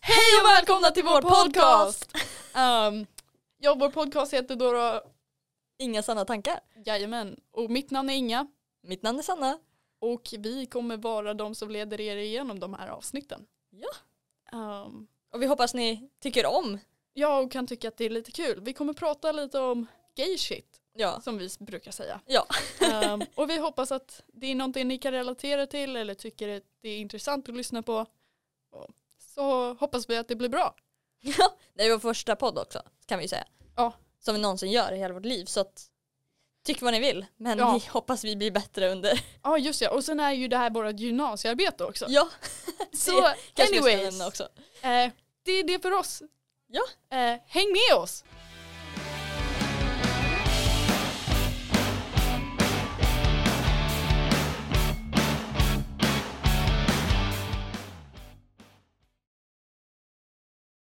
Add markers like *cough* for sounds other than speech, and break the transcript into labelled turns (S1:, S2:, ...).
S1: Hej och välkomna till vår podcast! Um, ja, vår podcast heter då, då
S2: Inga sanna tankar.
S1: Jajamän, och mitt namn är Inga
S2: Mitt namn är Sanna.
S1: och vi kommer vara de som leder er igenom de här avsnitten.
S2: Ja.
S1: Um,
S2: Och vi hoppas ni tycker om.
S1: ja, och kan tycka att det är lite kul. Vi kommer prata lite om gay shit,
S2: Ja.
S1: som vi brukar säga.
S2: Ja. *laughs*
S1: Um, och vi hoppas att det är någonting ni kan relatera till eller tycker att det är intressant att lyssna på. Och Så hoppas vi att det blir bra.
S2: Det är vår första podd också kan vi ju säga.
S1: Ja.
S2: Som vi någonsin gör i hela vårt liv så att tyck vad ni vill men
S1: Ja.
S2: vi hoppas vi blir bättre under.
S1: Ja, just det. Och sen är ju det här vårt
S2: *laughs*
S1: gymnasiearbete också.
S2: Ja,
S1: Så
S2: kanske vi ska
S1: anyways,
S2: nämna också.
S1: eh, det är det för oss.
S2: Ja.
S1: Eh, häng med oss!